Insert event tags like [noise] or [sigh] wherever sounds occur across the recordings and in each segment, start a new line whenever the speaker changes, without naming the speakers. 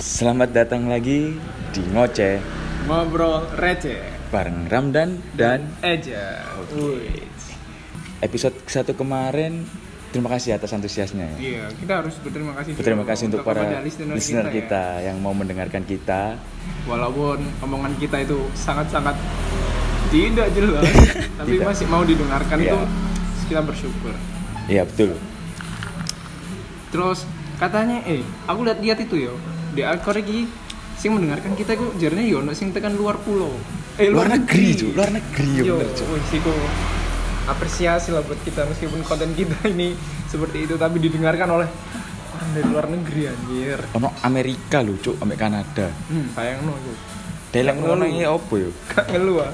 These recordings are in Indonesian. Selamat datang lagi di Ngoceh
Ngobrol receh
bareng Ramdan dan
aja. Wih.
episode 1 kemarin terima kasih atas antusiasnya ya.
Iya, kita harus berterima kasih. dulu
Berterima kasih untuk
Iya, kepada
para
listener,
listener
kita. ya.
kita yang mau mendengarkan kita.
Walaupun omongan kita itu sangat-sangat tidak jelas, tapi
[laughs] Tidak.
masih mau didengarkan
Iya.
itu kita bersyukur.
Iya betul.
Terus katanya eh aku lihat-lihat itu yo di Alkor iki sing mendengarkan kita iku jarene yo ono sing tekan luar pulau. Eh
Luar negeri, Cuk. Luar negeri, ya
yo.
bener, Cuk.
wih, siko apresiasi lah buat kita meskipun konten kita [laughs] ini seperti itu tapi didengarkan oleh orang dari luar negeri anjir.
Ono Amerika lho, Cuk, ambek Kanada.
Hmm, sayang no yo.
Delek ngono
Iya, Ngono.
iki opo yo?
Gak ngeluh ah.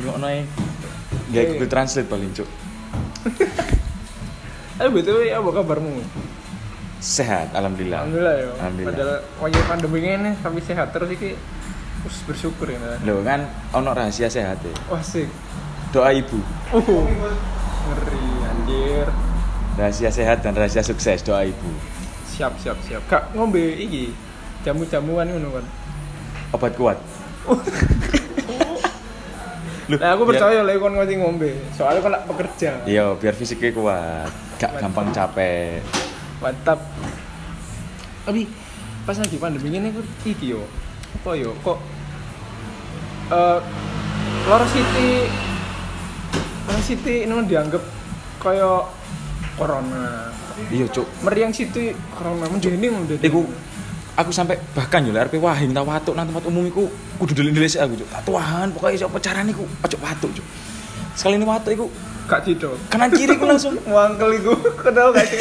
Ngono e. Ya
Iya.
Google Translate paling, Cuk.
Eh betul ya apa kabarmu?
Sehat, alhamdulillah.
Alhamdulillah yo.
Alhamdulillah.
Padahal wajah pandemi ini tapi sehat terus iki us bersyukur ya. Nah.
Lho kan ono rahasia sehat ya.
Wah sih.
Doa ibu.
Uh. Ngeri anjir.
Rahasia sehat dan rahasia sukses doa ibu.
siap siap siap kak ngombe iki jamu jamuan ngono kan
Obat
[laughs]
kuat. Loh,
nah aku
biar-
percaya lah kon ngerti ngombe soalnya kon lak pekerja
Iya, biar fisiknya kuat, gak gampang capek.
mantap tapi pas lagi pandemi ini aku iki yo apa yo kok eh loro city loro city ini dianggap kaya corona
Iya, Cuk.
meriang city corona mendeni mendeni
Iku aku sampai bahkan yo lek arepe wahim tak watuk nang tempat umum iku kudu delik-delik sik aku, Cuk. Tak tuahan, pokoke sik apa carane iku ojo watuk, Cuk. Sekali ini watuk iku
gak cido
kanan kiri ku
[laughs]
langsung.
wangkel iku kenal gak sih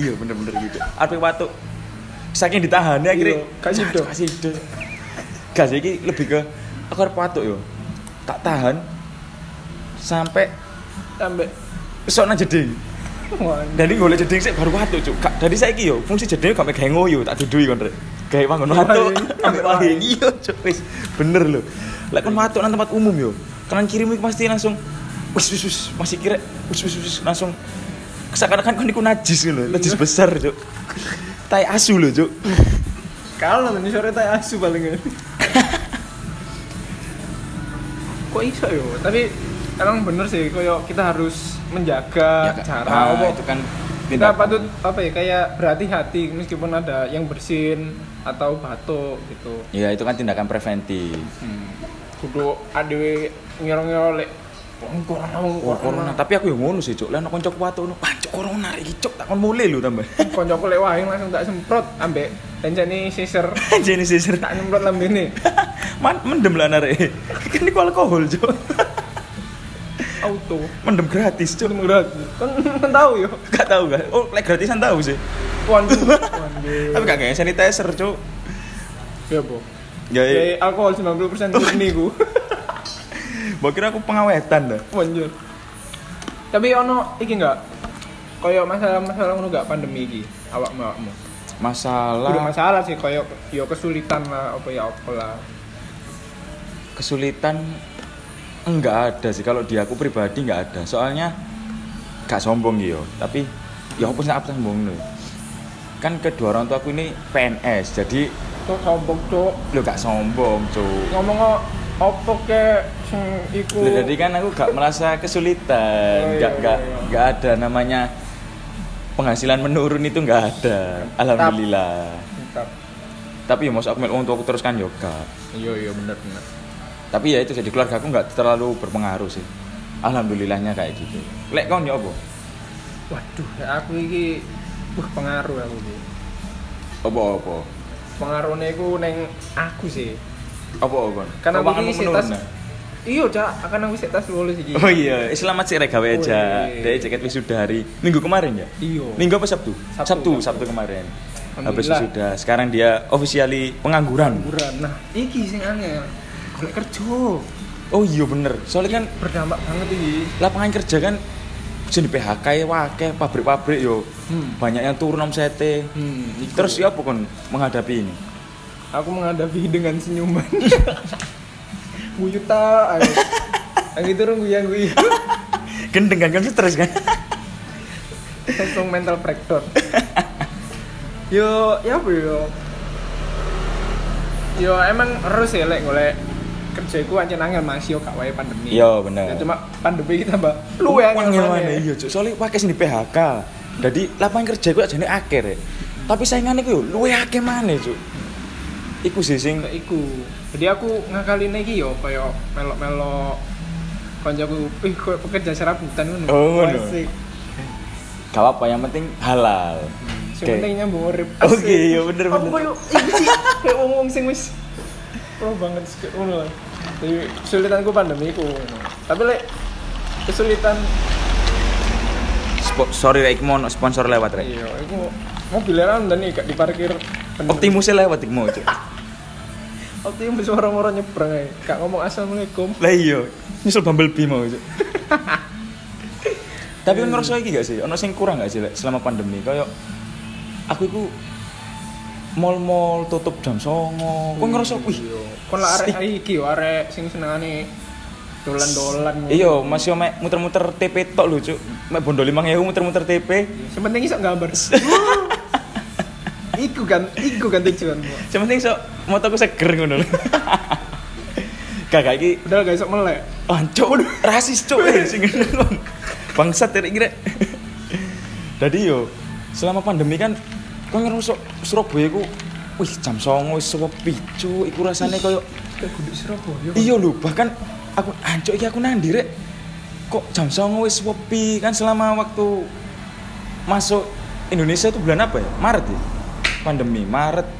Iya, bener-bener gitu. Arepe watuk saking ditahan ya akhirnya
Iya, gak sido.
kasih do. Gas iki lebih ke aku arep watuk yo. Tak tahan sampai
sampai
pesok nang jeding.
wangkel
Dari golek jeding sik baru watuk, Cuk. Gak- Dari saiki yo fungsi jeding gak gawe ngoyo, tak dudui kon, Rek. Gawe wangun watuk
Wahing.
[laughs] ambek wahing iya, Cuk. Wis bener lho. Lek kon watuk nang tempat umum yo, kanan kirimu iku pasti langsung wis wis wis masih kira wis wis wis langsung seakan-akan kon iku najis lho, najis besar, Cuk. Tai asu lho, Cuk.
Kalah nih sore tak asu paling Kok iso yo? Tapi emang bener sih koyo kita harus menjaga
Kak.
cara
Ah,
apa
itu kan
kita
tindakan.
patut apa ya kayak berhati-hati meskipun ada yang bersin atau batuk gitu.
Ya, itu kan tindakan preventif. Hmm.
Kudu adewe ngira-ngira lek wong corona wong
Wah, corona, tapi aku yang ngono sih, Cuk. Lah nek kanca watuk, "Wah, Cuk, corona iki, Cuk." Tak kon mule lho tambah. [laughs]
Koncoku lek wahing langsung tak semprot ambek tenceni sisir
Jenis sisir
tak nyemprot lambene.
Man, mendem lah narik Kan ini alkohol cok
Auto.
Mendem gratis
Itu
cok
gratis. Kan kan tahu yo.
Gak tau gak? Oh lek gratisan tau sih
Waduh. Waduh.
Tapi gak kayak sanitizer cok
Ya, Bu.
Ya iya
Jadi alkohol
[laughs]
90% murni ku.
Mbak kira aku pengawetan dah
Anjir. Tapi ono iki enggak? Koyo masalah-masalah ngono enggak pandemi iki awakmu awakmu. Udah
Masalah
masalah sih koyo yo kesulitan lah apa ya apa lah.
kesulitan Enggak ada sih Kalau di aku pribadi enggak ada Soalnya Gak sombong yo Tapi Ya aku sih apa sombong lho Kan kedua orang tua aku ini PNS Jadi
Tuh sombong cuk.
Lo gak sombong cok
Ngomong kok opo ke sing iku.
Lah, Jadi kan aku gak merasa
Oh,
kesulitan, gak
iya, iya,
gak
iya.
gak ada namanya penghasilan menurun itu gak ada. Alhamdulillah.
Mantap.
Tapi ya maksud aku mel- untuk aku teruskan yoga.
Iya iya bener bener.
Tapi ya itu jadi keluarga aku nggak terlalu berpengaruh sih. Alhamdulillahnya kayak gitu. Lek kon ya apa?
Waduh, ya aku iki wah pengaruh aku iki.
Apa apa?
Pengaruhnya iku neng aku sih.
Apa apa?
Kan aku
Keuanganmu
iki sik tas.
menurun, ya?
Iya, Cak, akan aku sik tas lulus iki.
Oh iya, eh, selamat sih rek gawe aja.
Oh, iya.
Dari jaket wisuda hari Minggu kemarin ya?
Iya.
Minggu apa Sabtu?
Sabtu,
Sabtu,
Sabtu.
Sabtu kemarin. Habis
Alhamdulillah.
wisuda, sekarang dia officially pengangguran.
liburan nah iki sing angel golek kerja
Oh iya bener, soalnya kan
berdampak banget iki
lapangan kerja kan jadi PHK ya wakeh pabrik-pabrik yo
Hmm.
banyak yang turun omsete.
hmm,
Terus ya apa kon menghadapi ini?
aku menghadapi dengan senyuman [laughs] guyu ta ayo lagi turun guyu guyu [laughs]
Gendeng kan kan stres [laughs] kan?
langsung mental breakdown yo ya apa yo yo emang harus ya lek golek kerja iku ancen angel Mas yo gak wae pandemi.
Yo, bener.
Ya, cuma pandemi kita tambah luwe
Uang yang mana
iya.
iya cuk. Soalnya pakai sini PHK. Jadi lapangan kerja gue aja akhir ya. Tapi saingannya gue luwe akeh mana cuk. Iku sih sing
iku. Jadi aku ngakalin iki yo kaya melok-melok koncoku ih koyo pekerja serabutan ngono.
Oh, ngono.
Asik.
gak apa yang penting halal.
Sing
Oke.
penting nyambung urip.
Oke,
Asik.
iya, bener,
Aku
bener.
koyo iki sih kayak wong-wong sing wis pro banget sih, kayak ngono lah. Jadi kesulitanku pandemi iku. ngono. Tapi lek kesulitan
Spo- sorry Rek, mau sponsor lewat Rek.
iya iku mobilnya kan dan gak diparkir bener.
Optimusnya lewat Iqmo cuk.
Optimus orang-orang nyebrang ae. Gak ngomong assalamualaikum.
Lah iya, nyusul Bumblebee mau cuk. [laughs] Tapi ono ngerasa iki gak sih? Ono sing kurang gak sih Lek, selama pandemi? Kayak aku iku mall-mall tutup jam 09.00. Kok ngerasa wih,
Iya. Kon lah arek iki yo arek sing senengane dolan-dolan. ngono.
Iya, masih mek muter-muter TP tok lho, Cuk. Mek bondo 5000 muter-muter TP.
Yang penting iso gambar. iku kan, iku kan tujuanmu.
Yang penting sok motoku seger ngono lho. [laughs] Kakak iki
Padahal gak iso melek.
anco rasis Oh, cuk eh, sing ngomong. Bangsat terik kira. Dadi yo selama pandemi kan kok ngerosok Surabaya iku wih jam 09.00 wis sepi cuk iku rasane koyo
Kayak guduk Surabaya.
Iya lho, bahkan aku ancuk iki aku nandi rek. Kok jam 09.00 wis sepi kan selama waktu masuk Indonesia itu bulan apa ya? Maret ya. Pandemi Maret.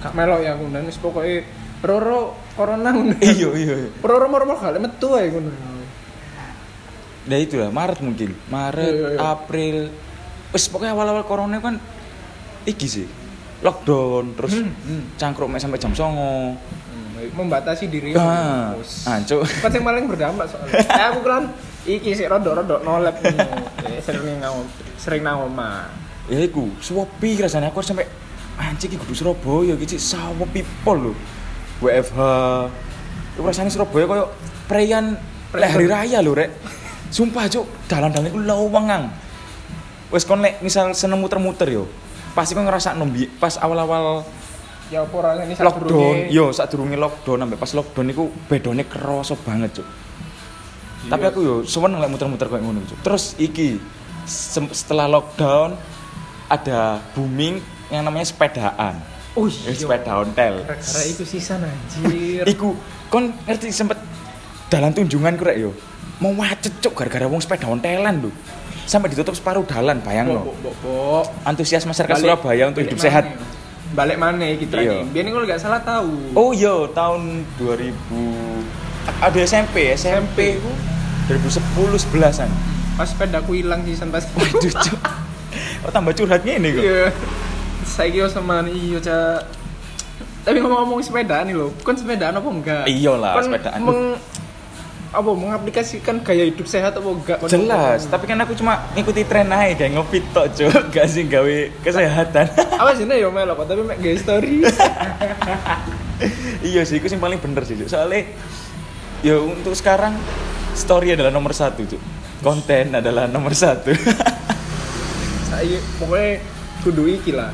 Gak melok ya aku dan wis pokoke Roro corona ngono.
Iya, iya, iya.
Roro moro-moro gak metu ae ngono.
Nah itu lah, Maret mungkin. Maret,
Iya, iya, iya.
April. Wis pokoknya awal-awal corona kan iki sih. Lockdown terus
Hmm, hmm.
cangkruk mek sampai jam 09.00.
Hmm, membatasi diri
Ah,
Bos.
ancuk.
kan yang paling berdampak [laughs] soalnya eh, aku kan iki sih rodo rodo nolep nih Eh, sering nang sering nang oma
Ya iku, sepi rasanya aku harus sampai anjing iki kudu Surabaya iki cik, sawo people lho. WFH. Iku rasanya Surabaya koyo prean lek hari raya lho, Rek. Sumpah, Cuk, dalan-dalan iku lowong ngang. Wes kon lek misal seneng muter-muter yo, pasti kon ngerasa nombi pas awal-awal
ya apa orang ini saat
lockdown.
durungnya-
Yo, saat durunge lockdown sampai pas lockdown iku bedone kerasa banget, Cuk.
Iya.
Tapi aku yo seneng lek muter-muter kayak ngono, Cuk. Terus iki sem- setelah lockdown ada booming yang namanya sepedaan.
oh
Eh,
iya
sepeda ontel.
gara-gara itu sisan anjir
Iku kon ngerti sempet dalan tunjungan ku rek yo. Mau macet cuk gara-gara wong sepeda ontelan lho. Sampai ditutup separuh dalan,
bok
bayangno.
bok bok
Antusias masyarakat
Balik-
Surabaya untuk
balik
hidup
mana?
sehat.
balik mana gitu
Iya.
iya. biar kalau nggak salah tahu
Oh iya, tahun 2000 ada SMP, SMP ku 2010 11-an.
pas pedaku hilang sisan pas
[laughs] Waduh, cuk. Oh, tambah curhat ngene kok.
iya saya kira sama iyo ca tapi ngomong-ngomong sepeda nih lo kan sepedaan apa enggak
Iyalah,
kan
sepedaan.
meng, apa mengaplikasikan gaya hidup sehat apa enggak Kan
Jelas,
ngomong.
tapi kan aku cuma ngikuti tren aja kayak ngopi tok, Cuk. [laughs] Gak sih gawe kesehatan. [laughs]
apa sih nih ya melo kok tapi mek gaya story
iya sih, itu yang paling bener sih, Cuk. Soalnya ya untuk sekarang story adalah nomor satu, Cuk. Konten adalah nomor satu. [laughs]
saya Nah, iya, pokoknya kudu iki lah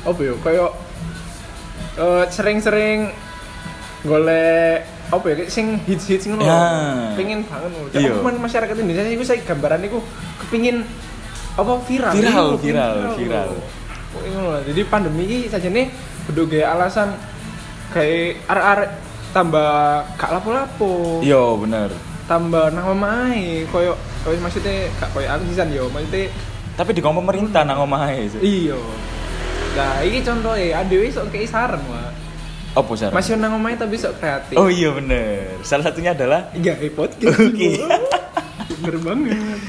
apa ya kayak eh, sering-sering golek apa ya kayak sing hits hits ngono lho.
Ya.
pengen banget ngono
Iya.
cuman masyarakat Indonesia itu saya gambaran itu kepingin apa viral
Viral,
Iya,
viral, viral.
Pokoknya ngono lah. jadi pandemi ini saja nih kudu gaya alasan kayak arek-arek tambah gak lapo-lapo
Iya, bener.
tambah nama main koyo koyo maksudnya gak koyo aku sisan yo maksudnya
Tapi di kaum pemerintah nang omahe, Cuk.
Iya. Nah, ini contohnya, adewe sok kei saran, Wak.
Apa sih?
Masih nang omahe tapi sok kreatif.
Oh iya bener. Salah satunya adalah
Iya,
[laughs]
podcast.
Oke.
Bener banget.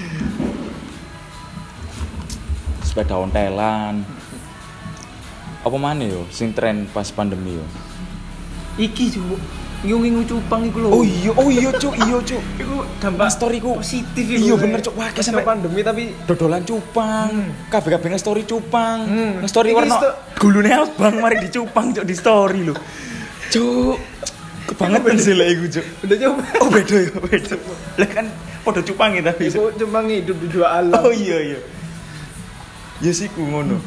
sepeda ontelan. Apa mana yo sing tren pas pandemi yo?
Iki juga ngungu cupang iku lho.
Oh iya, oh iya, Cuk. Iya, Cuk.
Iku dampak
Storyku.
positif
Iya,
Wak.
bener, Cuk. Wah, kayak
Masa
sampai-
pandemi tapi
dodolan cupang kabeh kabeh nge-story cupang
Hmm.
nge-story
Ini
warna
sto-
gulune abang mari dicupang cuk di story lho cuk kebangetan sih lek iku cuk
udah coba.
oh beda ya beda lah kan podo cupang ya tapi
Iku
Cuk. iya.
cuma hidup di dua alam.
oh iya iya ya sih ku ngono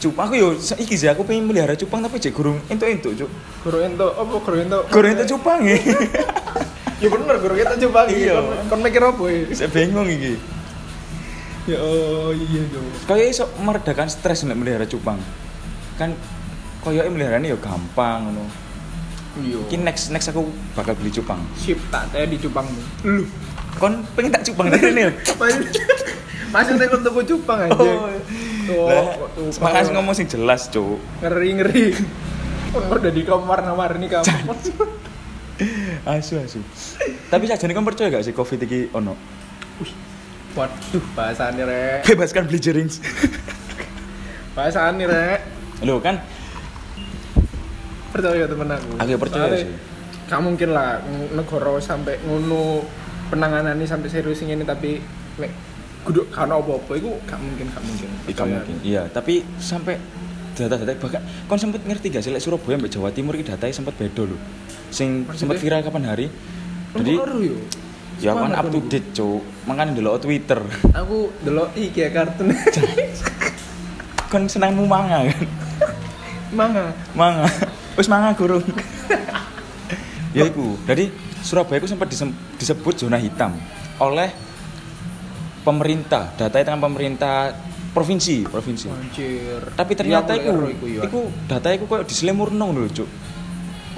cupang aku yo iki sih aku pengen melihara cupang tapi cek gurung entuk-entuk cuk.
Guru ento, apa guru ento?
Gurung entuk cupang ya.
Ya bener, guru kita coba
Iya.
Iya. Kon mikir apa ya?
[laughs] Saya bingung iki.
Ya oh iya yo.
Kayak iso meredakan stres nek melihara cupang. Kan koyoke meliharane yo gampang ngono.
Iya.
Ki next next aku bakal beli cupang.
Sip tak teh di cupang. Lu.
Kon pengen tak cupang dari ini.
[laughs] Maksudnya kon tuku cupang aja.
Oh,
Tuh, tuh,
Semangat
tuh.
iya. ngomong sing jelas, Cuk.
ngeri ngeri. Oh, udah di kamar nawar nih kamu.
Asu asu. Tapi sajane kon percaya gak sih Covid iki ono?
Waduh, bahasannya rek.
Bebaskan beli jerings.
Bahasannya rek.
Loh kan
Percaya temen aku.
Aku ya percaya
Soalnya,
sih.
Gak mungkin lah ng- negara sampai ngono penanganannya sampai serius ini tapi nek guduk karena apa-apa itu gak mungkin gak mungkin.
Ika mungkin. Iya, tapi sampai data-data bahkan kon sempet ngerti gak sih lek Surabaya mbek Jawa Timur iki datanya sempet beda lho. Sing
Maksudnya?
sempet viral kapan hari?
Jadi
Jadi
yo.
ya aku kan up
Semangat
to
dong.
date, Cuk. Makane ndelok Twitter.
Aku delok iki ya kartun.
Kon senengmu manga kan?
[laughs] Manga.
Manga. Wis manga gurung. ya iku. Jadi Surabaya itu sempat disem- disebut zona hitam oleh pemerintah, data dengan pemerintah provinsi, provinsi.
Anjir.
Tapi ternyata
Iya,
iku
aku lero iku yo.
iku data iku koyo diselemurno lho, Cuk.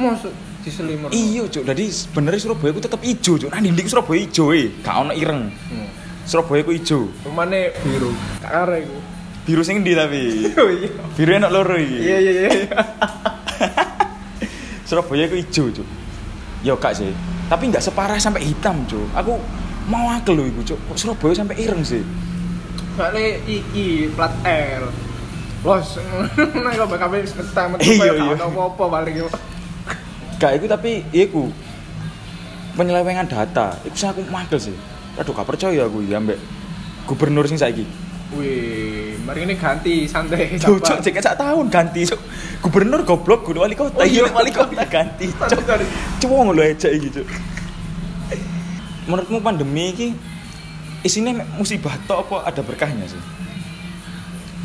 Masuk diselimur.
Iya, Cuk. Jadi sebenarnya Surabaya iku tetep ijo, Cuk. Nah, ndindik Surabaya ijo e, gak ono ireng.
Hmm.
Surabaya iku ijo.
Rumahnya biru. Tak arah iku.
Biru sing ndi tapi?
Oh iya.
Biru enak loro iki.
Iya iya iya.
Surabaya itu hijau cuk ya kak sih tapi nggak separah sampai hitam cuk aku mau akeh lho iku cuk Kok Surabaya sampai ireng sih
Soalnya iki plat L. Los, [laughs] nang kok bakal wis ketam metu
Iya,
kaya
iya.
gak ono apa-apa paling yo.
gak iku tapi iku penyelewengan data iku sih aku makel sih aduh gak percaya aku ya mbak gubernur sing saiki
Wih, mari ini ganti santai.
Duh,
sabar.
cuk cek sak tahun ganti cuk gubernur goblok gue wali kota
Oh, iya.
iya wali kota ganti
Sorry,
cuk
sorry.
cuma ngono aja iki cuk menurutmu pandemi iki isinya musibah tok apa ada berkahnya sih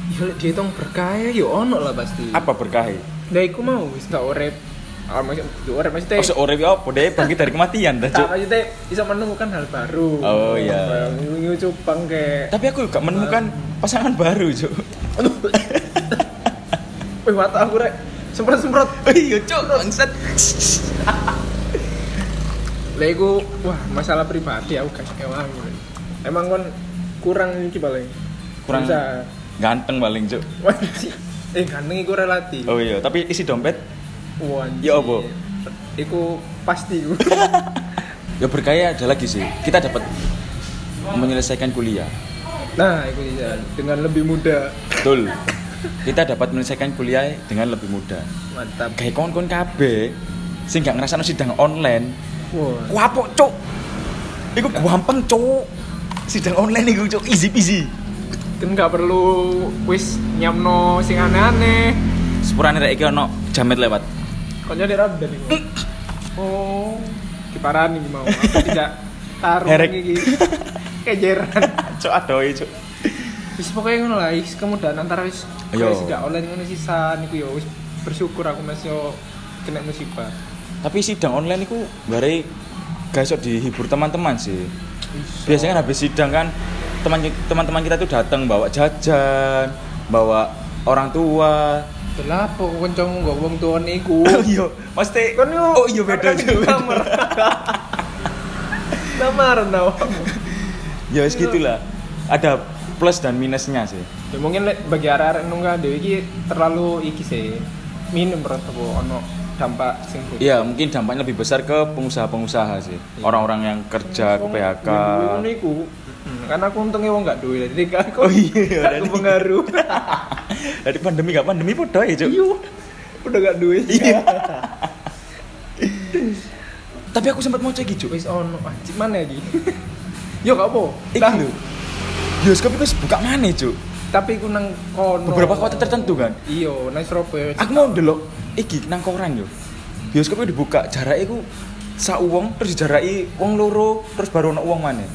Ya lek dihitung berkaya yo ono lah pasti.
apa berkahnya
Lah iku mau wis gak urip. Ah maksud yo urip maksudnya
Oh, seorang apa? Dia bangkit dari kematian, dah,
tak
Cuk.
maksudnya bisa menemukan hal baru.
Oh, iya.
Kayak Ngunjungi cupang kayak
Tapi aku juga menemukan pasangan baru, Cuk.
Aduh. Wih, mata aku rek
[laughs]
semprot-semprot.
Oh, Iya, Cuk, bangsat.
Lah iku wah masalah pribadi aku gak kewang. Emang kon kurang iki paling.
Kurang
Bisa.
ganteng paling, Cuk.
Wajib. Eh ganteng iku relatif.
Oh iya, tapi isi dompet
Wajib.
Ya apa?
Iku pasti iku. [laughs]
ya berkaya ada lagi sih. Kita dapat menyelesaikan kuliah.
nah, iku bisa dengan lebih mudah.
Betul. Kita dapat menyelesaikan kuliah dengan lebih mudah.
Mantap.
Kayak kon-kon kabeh sing gak ngrasakno sidang online.
Wah.
Kuapok, Cuk. Iku gampang, Cuk. Sidang online iku, Cuk. Easy peasy.
Kan gak perlu wis nyamno sing aneh-aneh.
Sepurane rek iki ono jamet lewat.
Konco di Ramadan iku. Oh, kiparan iki mau. Aku tidak taruh
Herek.
iki. Kejeran.
[laughs] Cuk adoi, Cuk.
Wis pokoknya ngono lah, wis kemudahan antara wis
Ayo.
Ayo. wis gak online ngono sisa niku ya wis bersyukur aku masih yo kena musibah.
tapi sidang online itu bare gak iso dihibur teman-teman sih biasanya kan habis sidang kan teman teman-teman kita tuh datang bawa jajan bawa orang tua
Delap kok kancamu gak wong tuan iku.
oh iya pasti
Kon yo.
oh iya beda
kan
juga
Kamar. Kamar no.
ya wis gitulah ada plus dan minusnya sih
Ya mungkin lek bagi arek-arek nunggu dhewe iki terlalu iki sih. Minum berat apa ono dampak sing buruk.
ya mungkin dampaknya lebih besar ke pengusaha-pengusaha sih orang-orang yang kerja ke PHK iya.
Ini aku, kan aku untungnya wong gak duit, jadi gak [laughs] aku
Oh iya,
gak
berarti. [laughs]
kepengaruh.
dari pandemi gak pandemi podo ya Cuk.
Iya, udah gak duit.
Iya. tapi aku sempat mau cek Cuk.
Wis ono, anjir mana lagi? [laughs] Yo gak apa?
Iki
Lah,
lho. Bioskop itu buka mana Cuk?
Tapi aku nang kono.
Beberapa kota tertentu kan?
Iya, nang Surabaya.
Aku mau ndelok iki nang koran yo. Bioskop itu dibuka, jaraknya iku sak wong terus dijaraki wong loro terus baru ono wong maneh.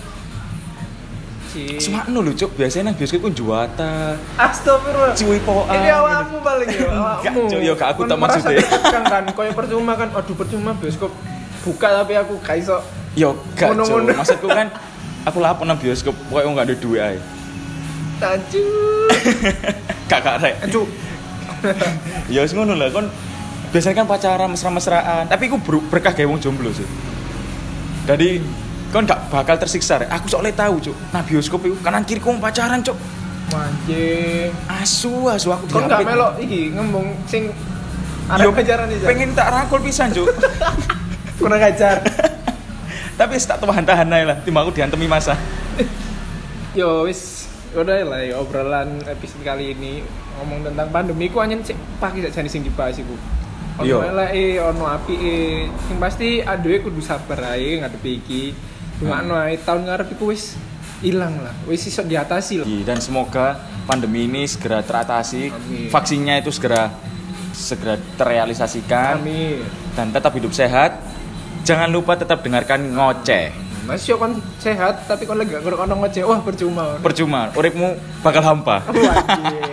sih.
Semakno lho, Cuk. Biasanya nang bioskop ku juwata.
Astagfirullah.
Ciwipokan.
Ini awakmu paling ya,
Enggak,
awakmu.
Cuk, ya gak aku tak
Kan merasa
maksud ya.
tertekan kan, koyo percuma kan. Aduh, percuma bioskop buka tapi aku gak iso.
Yo gak, Cuk.
Ngono-ngono.
Maksudku kan aku lapor nang bioskop koyo gak ada duit ae. [laughs]
Taju.
Kakak rek.
Aduh.
Ya wis ngono lah kon biasanya kan pacaran mesra-mesraan, tapi ku ber- berkah gawe wong jomblo sih. Jadi kon gak bakal tersiksa. Rek. Aku soalnya tahu, Cuk. Nang bioskop iku kanan kiri ku pacaran, Cuk.
Mancing.
Asu, asu aku
Kon gak
diapit.
melok iki ngembung sing
Yo,
arek ajaran iki. Pengen
Pengen tak rangkul pisan, Cuk.
[laughs] kurang ajar.
[laughs] tapi wis tak tahan-tahan ae lah, timbang aku dihantemi masa.
Yo wis udah lah ya obrolan episode kali ini ngomong tentang pandemi ku anjen cek pagi sak jane sing dibahas iku.
Yo.
Ono eleke, ono apike, sing pasti aduhe kudu sabar ae ngadepi iki. Cuma no ae tahun ngarep iku wis ilang lah, wis iso diatasi lah.
Iya, Dan semoga pandemi ini segera teratasi,
Amin.
vaksinnya itu segera segera terrealisasikan
Amin.
dan tetap hidup sehat. Jangan lupa tetap dengarkan ngoceh.
Masih yo kon sehat tapi kon lagi gak ono ngoceh. Wah percuma.
Percuma, uripmu bakal hampa.
Waduh.